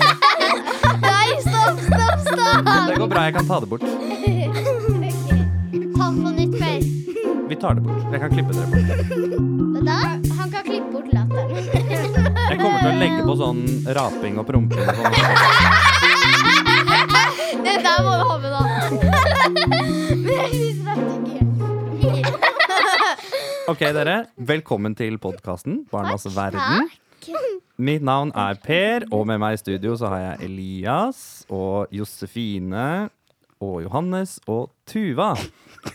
Nei, stopp, stopp, stopp! Det går bra, jeg kan ta det bort. Ta den på nytt mer. Vi tar det bort. Jeg kan klippe dere bort. Hva da? Han kan klippe bort latteren. Jeg kommer til å legge på sånn raping og promping og sånn. Det der må du ha med, da. Men jeg syns det er så gøy. Ok, dere. Velkommen til podkasten Barnas verden. Mitt navn er Per, og med meg i studio så har jeg Elias og Josefine og Johannes og Tuva.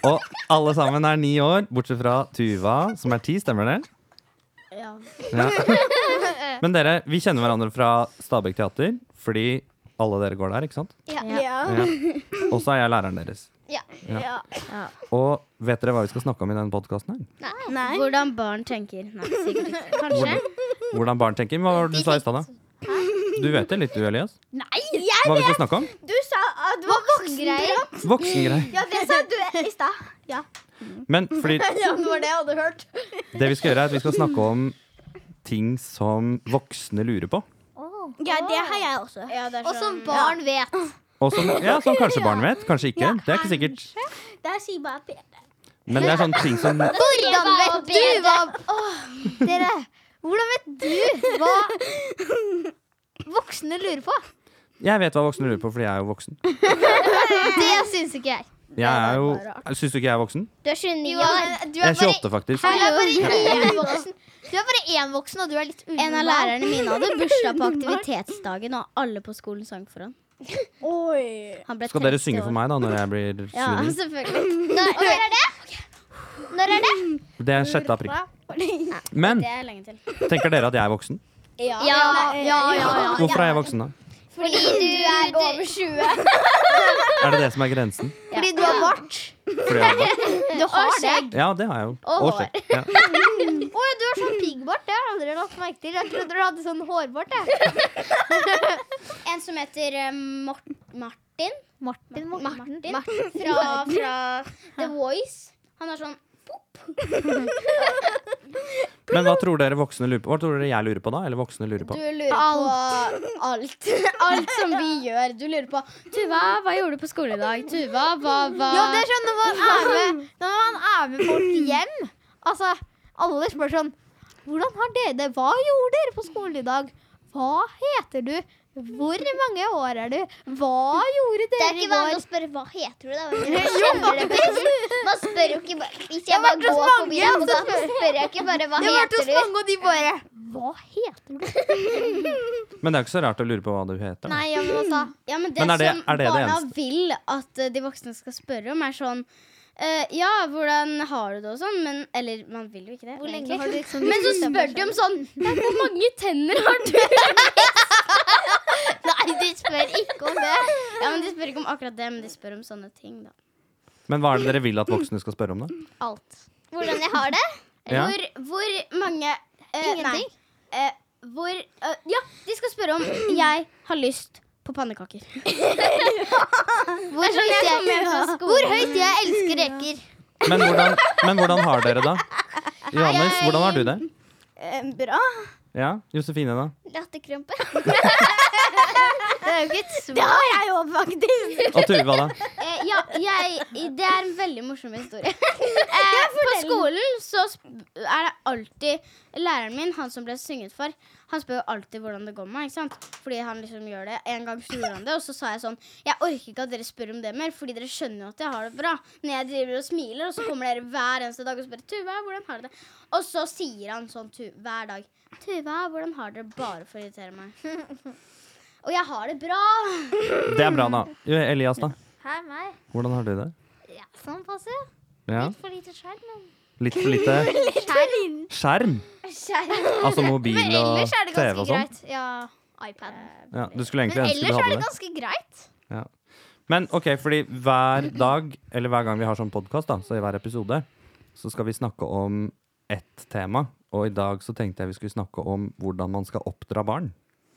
Og alle sammen er ni år, bortsett fra Tuva, som er ti, stemmer det? Ja. Ja. Men dere, vi kjenner hverandre fra Stabekk teater, fordi alle dere går der, ikke sant? Ja. Ja. Og så er jeg læreren deres. ja. Ja. Og vet dere hva vi skal snakke om i denne podkasten? Nei. Hvordan barn tenker. Nei, sikkert ikke. Hvordan, hvordan barn tenker? Hva var det du sa i stad, da? Du vet det litt, du, Elias? Nei! Hva vi skal snakke om? Du sa at voksengreier. Voksengreier. Ja, det sa du i stad. Men fordi Ja, det var det jeg hadde hørt. det vi skal gjøre, er at vi skal snakke om ting som voksne lurer på. Ja, det har jeg også. Ja, det er Og som sånn- barn vet. Og som, ja, som kanskje barn vet, kanskje ikke. Det er ikke sikkert. Der sier bare Per. Men det er sånne ting som Hvordan vet du hva Dere, hvordan vet du hva voksne lurer på? Jeg vet hva voksne lurer på, fordi jeg er jo voksen. Det syns ikke jeg. Jeg er jo Syns du ikke jeg er voksen? Du er 29 Jo, men du Jeg er bare- 28, faktisk. Du er bare én voksen. Du er bare én voksen, og du er litt unormal. En av lærerne mine hadde bursdag på aktivitetsdagen, og alle på skolen sang for han. Oi. Han ble Skal dere 30 synge år. for meg da når jeg blir Ja, altså, 29? selvfølgelig. Når, når er det? Når er det? Det er 6. april. Men Det er lenge til. tenker dere at jeg er voksen? Ja. Ja, ja, ja. Ah, ja. Hvorfor er jeg voksen da? Fordi du er over 20. Er det det som er grensen? Fordi du har bart. Fordi jeg har bart? Du har det. Ja, det har jeg jo. Og Og skjegg. Ja. Å ja, du har sånn piggbart. Det har jeg aldri lagt merke til. Jeg trodde du hadde sånn hårbart. Jeg. En som heter eh, Mort Martin. Martin, Martin. Martin. Fra, fra The Voice. Han har sånn Men hva tror dere voksne lurer på? Hva tror dere jeg lurer på da? Eller voksne lurer på? Du lurer på alt. Alt som vi gjør. Du lurer på Tuva, hva gjorde du på skole i dag? Tuva, hva, hva Ja, det er sånn når man er med, når man er med folk hjem. Altså, alle spør sånn Hvordan har dere det? Hva gjorde dere på skolen i dag? Hva heter du? Hvor mange år er du? Hva gjorde Det dere er i ikke vanlig går? å spørre hva heter du da. Kjenner det best. Man spør jo ikke bare Hvis Jeg har jeg bare vært hos går mange, forbi jeg noen, har da også spør jeg ikke bare hva Det har vært hos heter du. mange, og de bare Hva heter du? Men det er jo ikke så rart å lure på hva du heter. Da. Nei, ja, men altså Ja, men det, Men er det- som er det det barna eneste? vil at eh, de voksne skal spørre om, er sånn eh, Ja, hvordan har du det og sånn, men Eller man vil jo ikke det. Hvor lenge egentlig. har du liksom- Men så spør de om sånn «Nei, Hvor mange tenner har du? Nei, de spør ikke om det. Ja, men De spør ikke om akkurat det, men de spør om sånne ting, da. Men hva er det dere vil at voksne skal spørre om, da? Alt. Hvordan jeg har det? Ja. Hvor, hvor mange eh, Ingenting. Nei, eh, hvor eh, Ja, de skal spørre om jeg har lyst på pannekaker. sånn Hvor høyt jeg kom jeg, hjem fra skolen. hvor høyt jeg elsker reker. Men hvordan, men hvordan har dere det? Johannes, hvordan har du det? Eh, Bra. Ja, Josefine, da? Latterkrampe. Det er jo ikke et svar. Det har jeg jo faktisk. Og Tuva, da? Eh, ja, jeg, det er en veldig morsom historie. Eh, på skolen så sp- er det alltid Læreren min, han som ble synget for, han spør jo alltid hvordan det går med meg. ikke sant? Fordi han liksom gjør det. En gang så gjorde han det, og så sa jeg sånn Jeg orker ikke at dere spør om det mer, fordi dere skjønner jo at jeg har det bra. Når jeg driver og smiler, og så kommer dere hver eneste dag og spør Tuva, hvordan har du det? Og så sier han sånn tu hver dag Tuva, hvordan har dere bare for å irritere meg? Og jeg har det bra. Det er bra, da. Elias, da? Hei, meg. Hvordan har du det? Ja, sånn passer. Ja, For lite skjerm, men. Litt for lite skjerm? Altså mobil Men og ellers er det TV ganske og sånn? greit. Ja, iPad. Ja, du skulle Men egentlig ønske du ellers er hadde det det. ganske greit. Men ok, fordi hver dag, eller hver gang vi har sånn podkast, så i hver episode, så skal vi snakke om ett tema. Og i dag så tenkte jeg vi skulle snakke om hvordan man skal oppdra barn.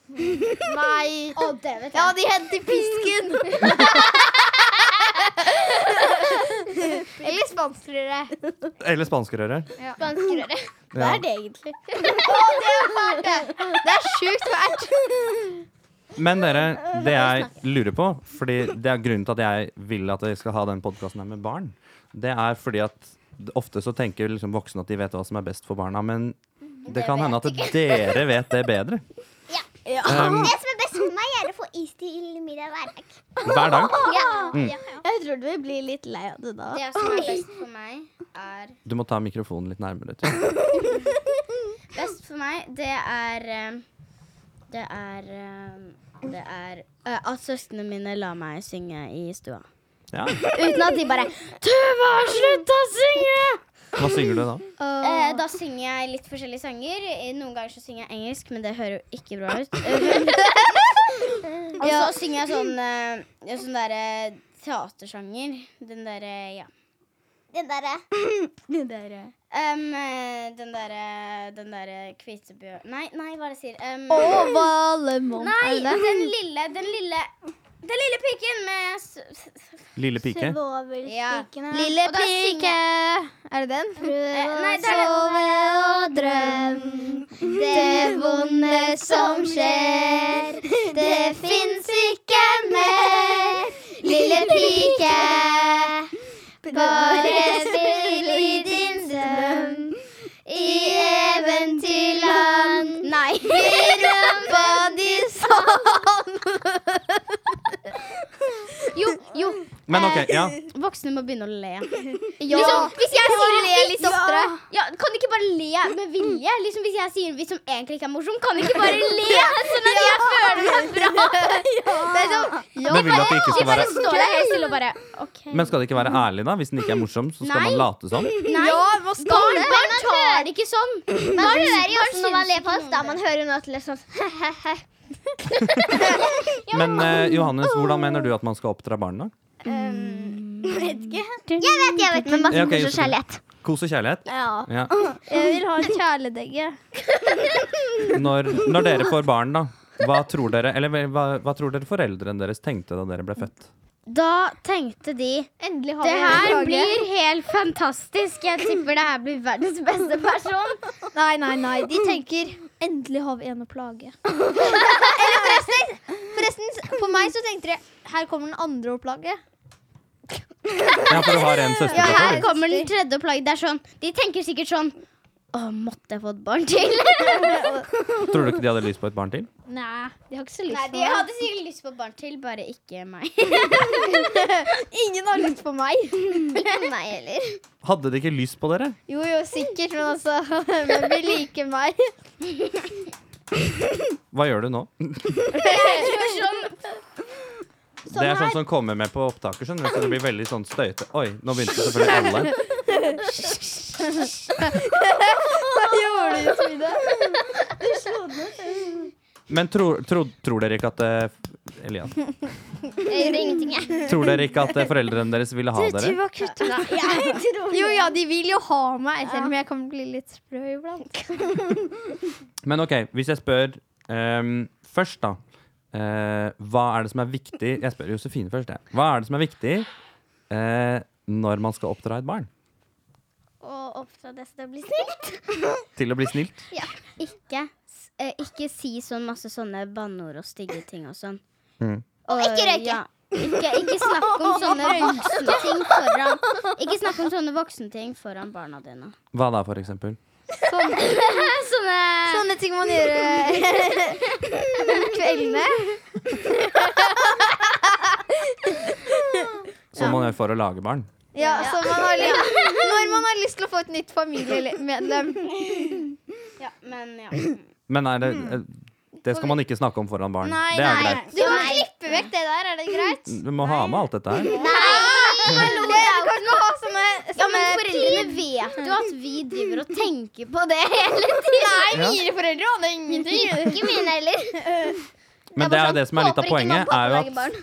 Nei. Å, det vet jeg. Ja, de henter pisken. Eller spanskrøre. Eller spanskrøret. Spanskrøre. Ja. Det er det egentlig. Det er sjukt fælt. Men dere, det jeg lurer på, fordi det er grunnen til at jeg vil at jeg skal ha den podkasten her med barn, det er fordi at ofte så tenker liksom voksne at de vet hva som er best for barna, men Mm-hmm. det kan hende at dere vet det bedre. Ja. Um, Det som er best for meg, er å få is til middag hver dag. hver dag. Ja. Mm. Jeg tror du blir litt lei av det da. Det som er best for meg, er Du må ta mikrofonen litt nærmere. tror jeg. Best for meg, det er eh, Det er eh, Det er eh, at søsknene mine lar meg synge i stua. Ja. Uten at de bare 'Tuva, slutt å synge!' Hva synger du da? Eh, da synger jeg litt forskjellige sanger. Eh, Noen ganger så synger jeg engelsk, men det hører jo ikke bra ut. Eh, Og så synger jeg sånn, eh, ja, sånn derre teatersjanger. Den derre, ja. Den derre Em, eh, den derre Den derre Kvitebjørn... Nei, nei, hva er det jeg sier? Em, Og Valemon. nei, Er det det? den lille Den lille Den lille piken med s- s- Lille pike? Svovelstikkene. Lille Og da synger- pike. Er det den? eh, Nei, det er den. Sove og drøm, det vonde som skjer. Det fins ikke mer, lille pike. Bare spill i din drøm, i eventyrland. Nei. Rumpa di sånn. Jo, jo. Men OK, ja. Eh, Voksne må begynne å le. Ja. Liksom, hvis jeg sier en le litt vits- oftere. Ja, kan du ikke bare le med vilje? Liksom Hvis jeg sier en vits som egentlig ikke er morsom, kan du ikke bare le? Sånn at jeg føler meg bra. Det er sånn, ja. Men vil du at det ikke De skal bare være står der helt stille og bare OK. Men skal det ikke være ærlig, da? Hvis den ikke er morsom, så skal Nei. man late som? Nei. hva Barn, barn tar det ikke sånn. Man hører jo barn også når man syns ler ikke på oss, noe da om man hører jo noe til det sånn Men eh, Johannes, hvordan mener du at man skal oppdra barna? Jeg vet, jeg vet, men masse Ja, ok, kos og Josefine. kjærlighet. Kos og kjærlighet? Ja. Ja. Jeg vil ha en kjæledegge. Når, når dere får barn, da, hva tror dere Eller hva, hva tror dere foreldrene deres tenkte da dere ble født? Da tenkte de Endelig har det vi her en drage. blir helt fantastisk. Jeg tipper det her blir verdens beste person. Nei, nei, nei. De tenker endelig har vi en å plage. Eller forresten, forresten, på meg så tenkte de her kommer den andre å plage. Ja, for du har en søster Ja, fra her før. kommer den tredje plagg. Det er sånn, De tenker sikkert sånn Å, måtte jeg få et barn til? Tror du ikke de hadde lyst på et barn til? Nei, de har ikke så lyst Nei, på De meg. hadde sikkert lyst på et barn til, bare ikke meg. Ingen har lyst på meg. Ikke meg heller. Hadde de ikke lyst på dere? Jo, jo, sikkert, men altså Men vi liker meg. Hva gjør du nå? Det er sånn som kommer med på opptaker, skjønner du. Så det blir veldig sånn støyte. Oi, nå begynte selvfølgelig alle. Hva gjorde du, Frida? Men tror, tro, tror dere ikke at eh, Elias. Jeg gjorde ingenting, jeg. Tror dere ikke at eh, foreldrene deres ville ha dere? Tuva, kutt ut. Jo, ja, de vil jo ha meg, selv om jeg kan bli litt sprø iblant. Men ok, hvis jeg spør ehm, først da eh, Hva er det som er viktig Jeg spør Josefine først jeg. Hva er det som er viktig eh, når man skal oppdra et barn? Og oppdra det så det blir snilt. Til å bli snilt? Ikke, s- eh, ikke si sånn masse sånne banneord og stygge ting og sånn. Mm. Og ikke røyke. Ja, ikke, ikke snakk om sånne voksne ting foran Ikke snakk om sånne voksne ting foran barna dine. Hva da for eksempel? Sånn, Sånne sånne ting man gjør eh, om kveldene. Som man gjør for å lage barn Ja, så man har lyst, Når man har lyst til å få et nytt familiemedlem. Ja, men ja. Men er det eh, Det skal man ikke snakke om foran barn Mm. Nei, Det er nei. greit Du må klippe vekk det der, er det greit? Du må ha med alt dette her Det, du kan ikke ha sånne, ja, sånne men foreldrene vet jo at vi driver og tenker på det hele tiden. Nei, Ja. mine foreldre aner ingenting. Ikke mine heller. Men sånn, det er jo det sånn, som er litt av poenget Er jo at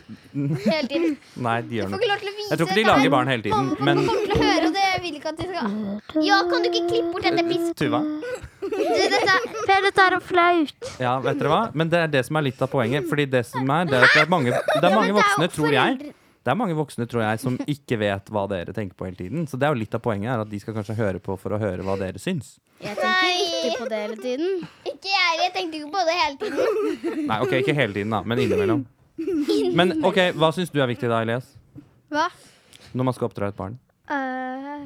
Hele tiden. Nei, de gjør Får noe ikke lov til å vise Jeg tror ikke de det her. lager barn hele tiden Mamma og pappa Men kommer til å høre det. Jeg vil ikke at de skal Ja, kan du ikke klippe bort dette piss... Eh, Tuva dette er flaut. Ja, vet dere hva? Men det er det som er litt av poenget. Fordi det som er, det er at det er mange, det er mange voksne, tror jeg, det er mange voksne, tror jeg, som ikke vet hva dere tenker på hele tiden. Så det er jo litt av poenget, er at de skal kanskje høre på for å høre hva dere syns. Jeg tenker Nei. ikke på det hele tiden. Ikke jeg, jeg tenkte ikke på det hele tiden. Nei, ok, ikke hele tiden, da, men innimellom. Men ok, Hva syns du er viktig da, Elias? Hva? Når man skal oppdra et barn? Eh,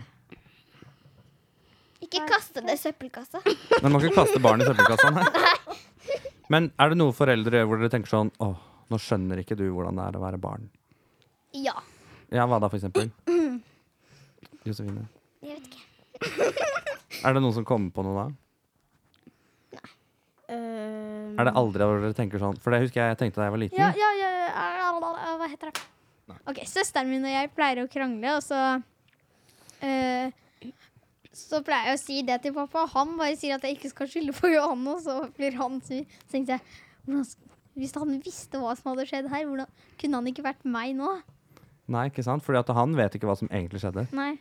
Ikke kaste det i søppelkassa. Men man kan ikke kaste barn i søppelkassa. Nei. Men er det noe foreldre gjør hvor dere tenker sånn Åh, nå skjønner ikke du hvordan det er å være barn. Ja. Ja, hva da, for eksempel? Josefine? Jeg vet ikke. Er det noen som kommer på noe da? Eh, Er det aldri hvor dere tenker sånn? For det husker jeg jeg tenkte da jeg var liten. ja, ja, ja, ja, hva heter det? Ok, Søsteren min og jeg pleier å krangle, og så eh, Så pleier jeg å si det til pappa, og han bare sier at jeg ikke skal skylde på Johanne, og så blir han sur. Så tenkte jeg hvordan, sk- Hvis han visste hva som hadde skjedd her, hvordan kunne han ikke vært meg nå? Nei, ikke sant? Fordi at han vet ikke hva som egentlig skjedde. Nei,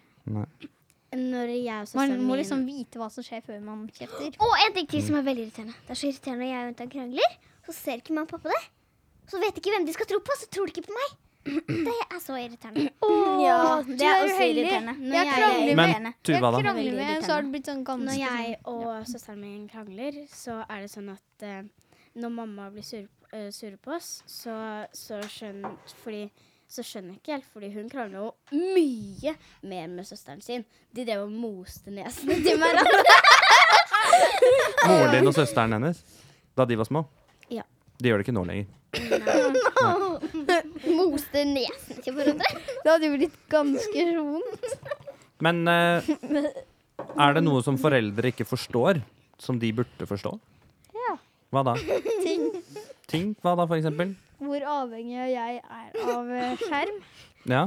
Når jeg og Man søsteren må min liksom vite hva som skjer før man kjefter. Og en ting til som Mm. er veldig irriterende. Det er så irriterende når jeg og jenta krangler, så ser ikke mamma og pappa det. Så vet ikke hvem de skal tro på, så tror de ikke på meg. Det er så irriterende. Ja, du er uheldig. Når Jeg jeg- krangler med, Men Tuva, jeg da? krangler med en, så har det blitt sånn ganske Når jeg og søsteren min krangler, så er det sånn at eh, når mamma blir sur, eh, sur på oss, så, så, skjønner, fordi, så skjønner jeg ikke helt, fordi hun krangler jo mye mer med søsteren sin. De drev og moste nesene til hverandre. Moren din og søsteren hennes da de var små? Ja. De gjør det ikke nå lenger. Moste nesen til hverandre. sånn- Det hadde jo blitt ganske vondt. Men eh, er det noe som foreldre ikke forstår, som de burde forstå? Ja. Hva da? Ting Ting? Hva da, for eksempel? hvor avhengig jeg er av eh, skjerm. Ja.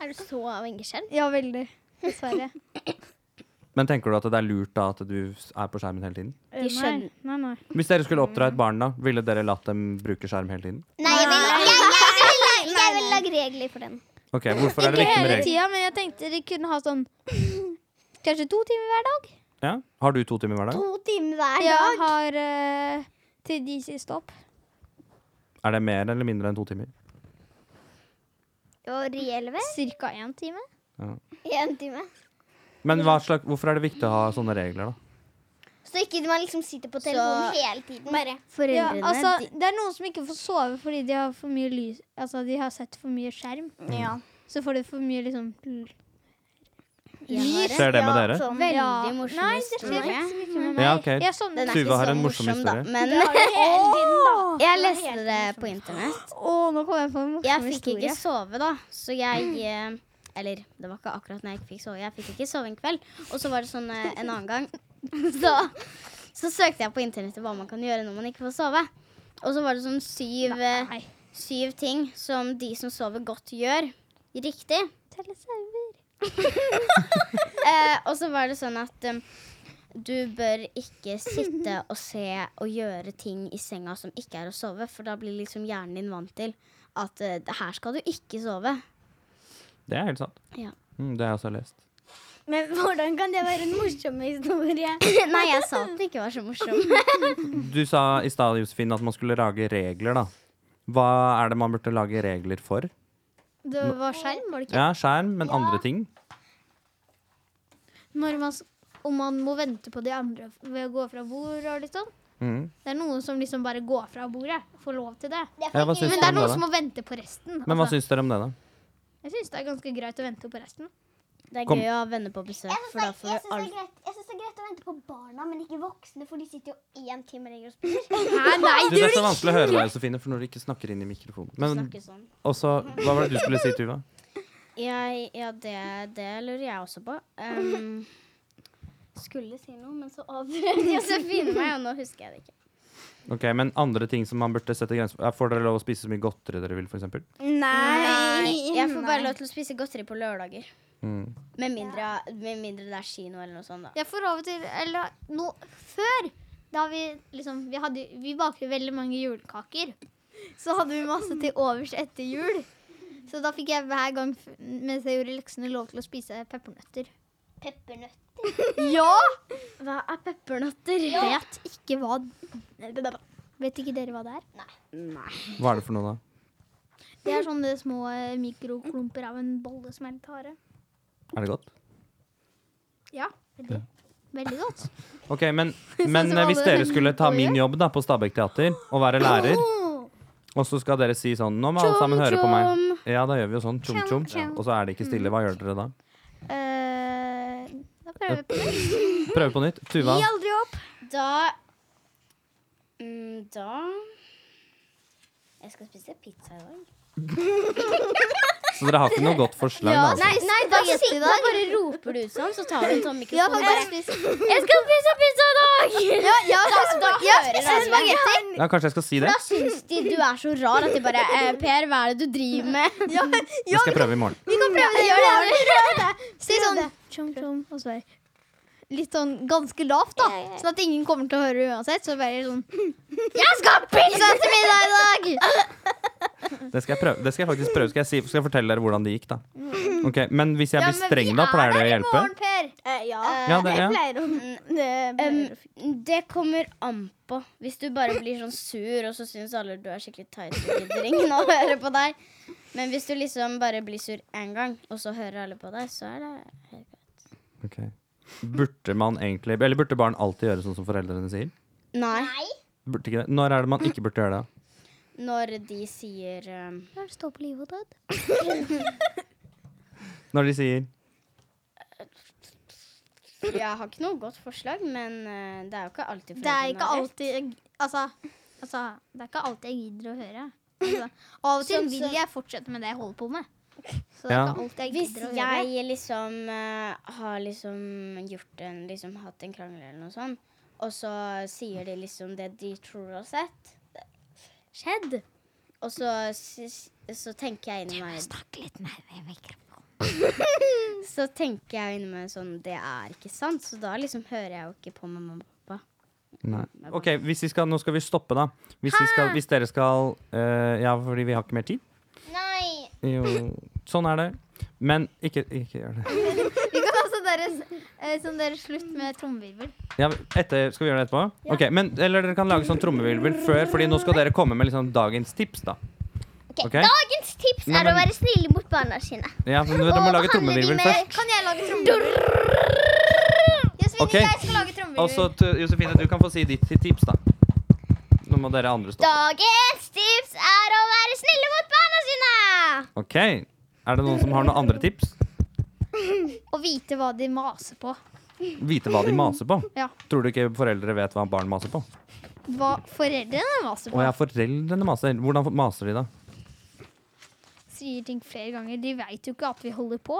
Er du så avhengig skjerm? Ja, veldig. Dessverre. Men tenker du at det er lurt da at du er på skjermen hele tiden? Eh, nei. skjønner. Nei, nei. Hvis dere skulle oppdra et barn, da, ville dere latt dem bruke skjerm hele tiden? Nei, jeg vil, jeg, jeg, jeg, vil, jeg vil lage regler for den. Ok, Hvorfor er det viktig Ikke med hele regler? tida, men jeg tenkte de kunne ha sånn kanskje to timer hver dag. Ja? Har du to timer hver dag? To timer hver Jeg har eh, til de sier stopp. Er det mer eller mindre enn to timer? Og reelle vel? Cirka én time. En time. Men hva slags, hvorfor er det viktig å ha sånne regler, da? Så ikke man liksom sitter på telefonen Så- hele tiden. Bare. Ja, Foreldrene altså, de, det er noen som ikke får sove fordi de har for mye lys Altså, de har sett for mye skjerm. Mm. Ja. Så får de for mye liksom jeg har Ser det med dere? en Sånn. veldig Ja. morsom Nei, det skjer historie. faktisk ikke med meg. Ja, ok. Jeg sovner Den er Tuva ikke har så en morsom da, historie. men jeg leste det på internett. Å, nå kom jeg på en Jeg morsom fikk historie. ikke sove, da. Så jeg eh, Eller det var ikke akkurat når jeg ikke fikk sove. Jeg fikk ikke sove en kveld. Og så var det sånn eh, en annen gang. Så, så søkte jeg på internettet hva man kan gjøre når man ikke får sove. Og så var det sånn syv, eh, Nei. syv ting som de som sover godt, gjør riktig. Telesauer. Eh, og så var det sånn at um, du bør ikke sitte og se og gjøre ting i senga som ikke er å sove, for da blir liksom hjernen din vant til at eh, det her skal du ikke sove. Det er helt sant. Ja. Mm, det har jeg også lest. Men hvordan kan det være en morsom historie? Nei, jeg sa at den ikke var så morsom. Du sa i stad, Josefine, at man skulle lage regler, da. Hva er det man burde lage regler for? Det var skjerm, var det ikke? Ja, skjerm, men andre ting. Når man, s- om man må vente på de andre ved å gå fra bord og litt sånn. Mm. Det er noen som liksom bare går fra bordet. Får lov til det. Ja, hva syns Men dere det er om det, noen som da? må vente på resten. Men hva altså. syns dere om det, da? Jeg syns det er ganske greit å vente på resten. Det er Kom. gøy å ha venner på besøk, for da får du alt. Jeg syns det er greit å vente på barna, men ikke voksne, for de sitter jo én time lenger og spiller. Nei, nei, Du, det er så vanskelig å høre deg, Josefine, for når du ikke snakker inn i mikrofonen. Men Snakke sånn. også, hva var det du skulle si, Tuva? Jeg, ja, det, det lurer jeg også på. Um, skulle si noe, men så avbrøt Josefine meg, og nå husker jeg det ikke. Ok, Men andre ting som man burde sette grenser for? Ja, Får dere lov å spise så mye godteri dere vil, for eksempel? Nei. Jeg får bare lov til å spise godteri på lørdager. Mm. Med mindre, med mindre det er kino eller noe sånt, da. Jeg får av og til Eller nå før, da vi liksom Vi, hadde, vi bakte veldig mange julekaker. Så hadde vi masse til overs etter jul. Så da fikk jeg hver gang f- mens jeg gjorde leksene, lov til å spise peppernøtter. Peppernøtt. Ja! Hva er peppernøtter? Vet ikke hva Vet ikke dere hva det er? Hva er det for noe, da? Det er sånne små eh, mikroklumper av en bolle som er litt harde. Er det godt? Ja. Veldig godt. Ok, Men, men som eh, hvis alle- dere skulle ta alle min jobb da på Stabekk teater og være lærer, og så skal dere si sånn Nå må alle sammen høre på meg. Ja, da gjør vi jo sånn. Tjom, tjom. Og så er det ikke Mm. stille. Hva gjør dere da? Eh, da prøver vi på nytt. Prøve på nytt. Tuva, aldri opp. Da mm, Da Jeg skal spise pizza i dag. så dere har ikke noe godt forslag? da, altså. Nei, da, sitter, da bare roper du ut sånn, så tar vi en sånn Ja, mikrofon. bare, for bare Eh, spise. jeg skal spise pizza i dag! Ja, ja, da, da, ja, hører spise alle. spagetti. Ja, Kanskje jeg skal si det? Da syns de du er så rar at de bare eh, Per, hva er det du driver med? Ja, Det skal jeg prøve i morgen. vi kan prøve det. Gjør det, gjør det. Si sånn Tjom, tjom, og så bare litt sånn ganske lavt, da. Sånn at ingen kommer til å høre uansett. Så bare sånn Jeg skal Pizza til middag i dag! Det skal jeg, prøve. Det skal jeg faktisk prøve. Skal jeg, si, skal jeg fortelle dere hvordan det gikk, da? Ok, Men hvis jeg Mm. Ja, blir men vi streng, da? er Pleier det der å i hjelpe? morgen, Per. eh, Ja. Ja, det, ja. pleier å det pleier å- Det kommer an på. Hvis du bare blir sånn sur, og så syns alle du er skikkelig tight og gidder ingen å høre på deg. Men hvis du liksom bare blir sur én gang, og så hører alle på deg, så er det helt greit. Ok. Burde man egentlig Eller burde barn alltid gjøre sånn som foreldrene sier? Nei. Burde ikke det? Når er det man ikke burde gjøre det? Når de sier um, Stå på livet og død. Når de sier Jeg har ikke noe godt forslag, men eh, det er jo ikke alltid Det er ikke foreldrene har rett. alltid jeg- Altså, altså det er ikke alltid jeg gidder å høre. Altså, av og til Sånn vil som- jeg fortsette med det jeg holder på med. Så det er Ja. ikke alltid jeg Hvis gidder å høre. jeg liksom eh, har liksom gjort en liksom hatt en krangel eller noe sånt, og så sier de liksom det de tror har sett skjedd, og så, s- så tenker jeg inni meg Snakk litt nærmere mikrofonen. Så tenker jeg inni meg sånn Det er ikke sant. Så da liksom hører jeg jo ikke på mamma og pappa. Nei. OK, hvis vi skal, nå skal vi stoppe, da. Hvis, vi skal, hvis dere skal eh, Ja, fordi vi har ikke mer tid. Nei. Jo, sånn er det. Men ikke, ikke gjør det. Vi kan ha sånn der, eh, sånn der slutt med trommevirvel. Ja, etter, skal vi gjøre det etterpå? Ok, men, Eller dere kan lage sånn trommevirvel før, Fordi nå skal dere komme med liksom dagens tips, da. Ok, Ok. Dagens tips Nei, er å men- være snille mot barna sine. Ja, men du, du må Og lage behandle de trommevirvel med- først. Kan jeg lage trommevirvel? Jasmin, Ok. jeg skal lage trommevirvel. Og så, t- Josefine, du kan få si ditt tips, da. Nå må dere andre stå. Dagens tips er å være snille mot barna sine. OK. Er det noen som har noen andre tips? Og vite hva de maser på. Vite hva de maser på. Ja. Tror du ikke foreldre vet hva barn maser på? Hva foreldrene maser på. Å ja, foreldrene maser. Hvordan maser de, da? Sier ting flere ganger. De veit jo ikke at vi holder på.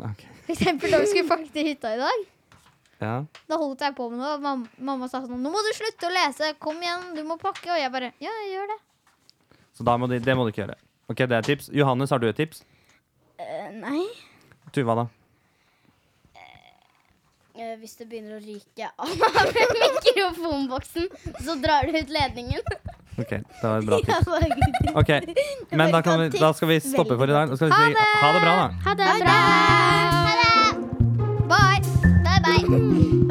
Nei, ok. For eksempel da vi skulle pakke til hytta i dag. Ja. Da holdt jeg på med noe. og Mam mamma sa sånn 'Nå må du slutte å lese. Kom igjen, du må pakke.' Og jeg bare 'Ja, jeg gjør det'. Så da må de, det må du ikke gjøre. OK, det er tips. Johannes, har du et tips? Nei. Tuva, da? Eh, hvis det begynner å ryke av mikrofonboksen, så drar du ut ledningen. OK, det var et bra tips. Ok, Men da, kan vi, da skal vi stoppe for i dag. Da skal vi si ha det bra, da. Ha det bra. Bye! Bye bye.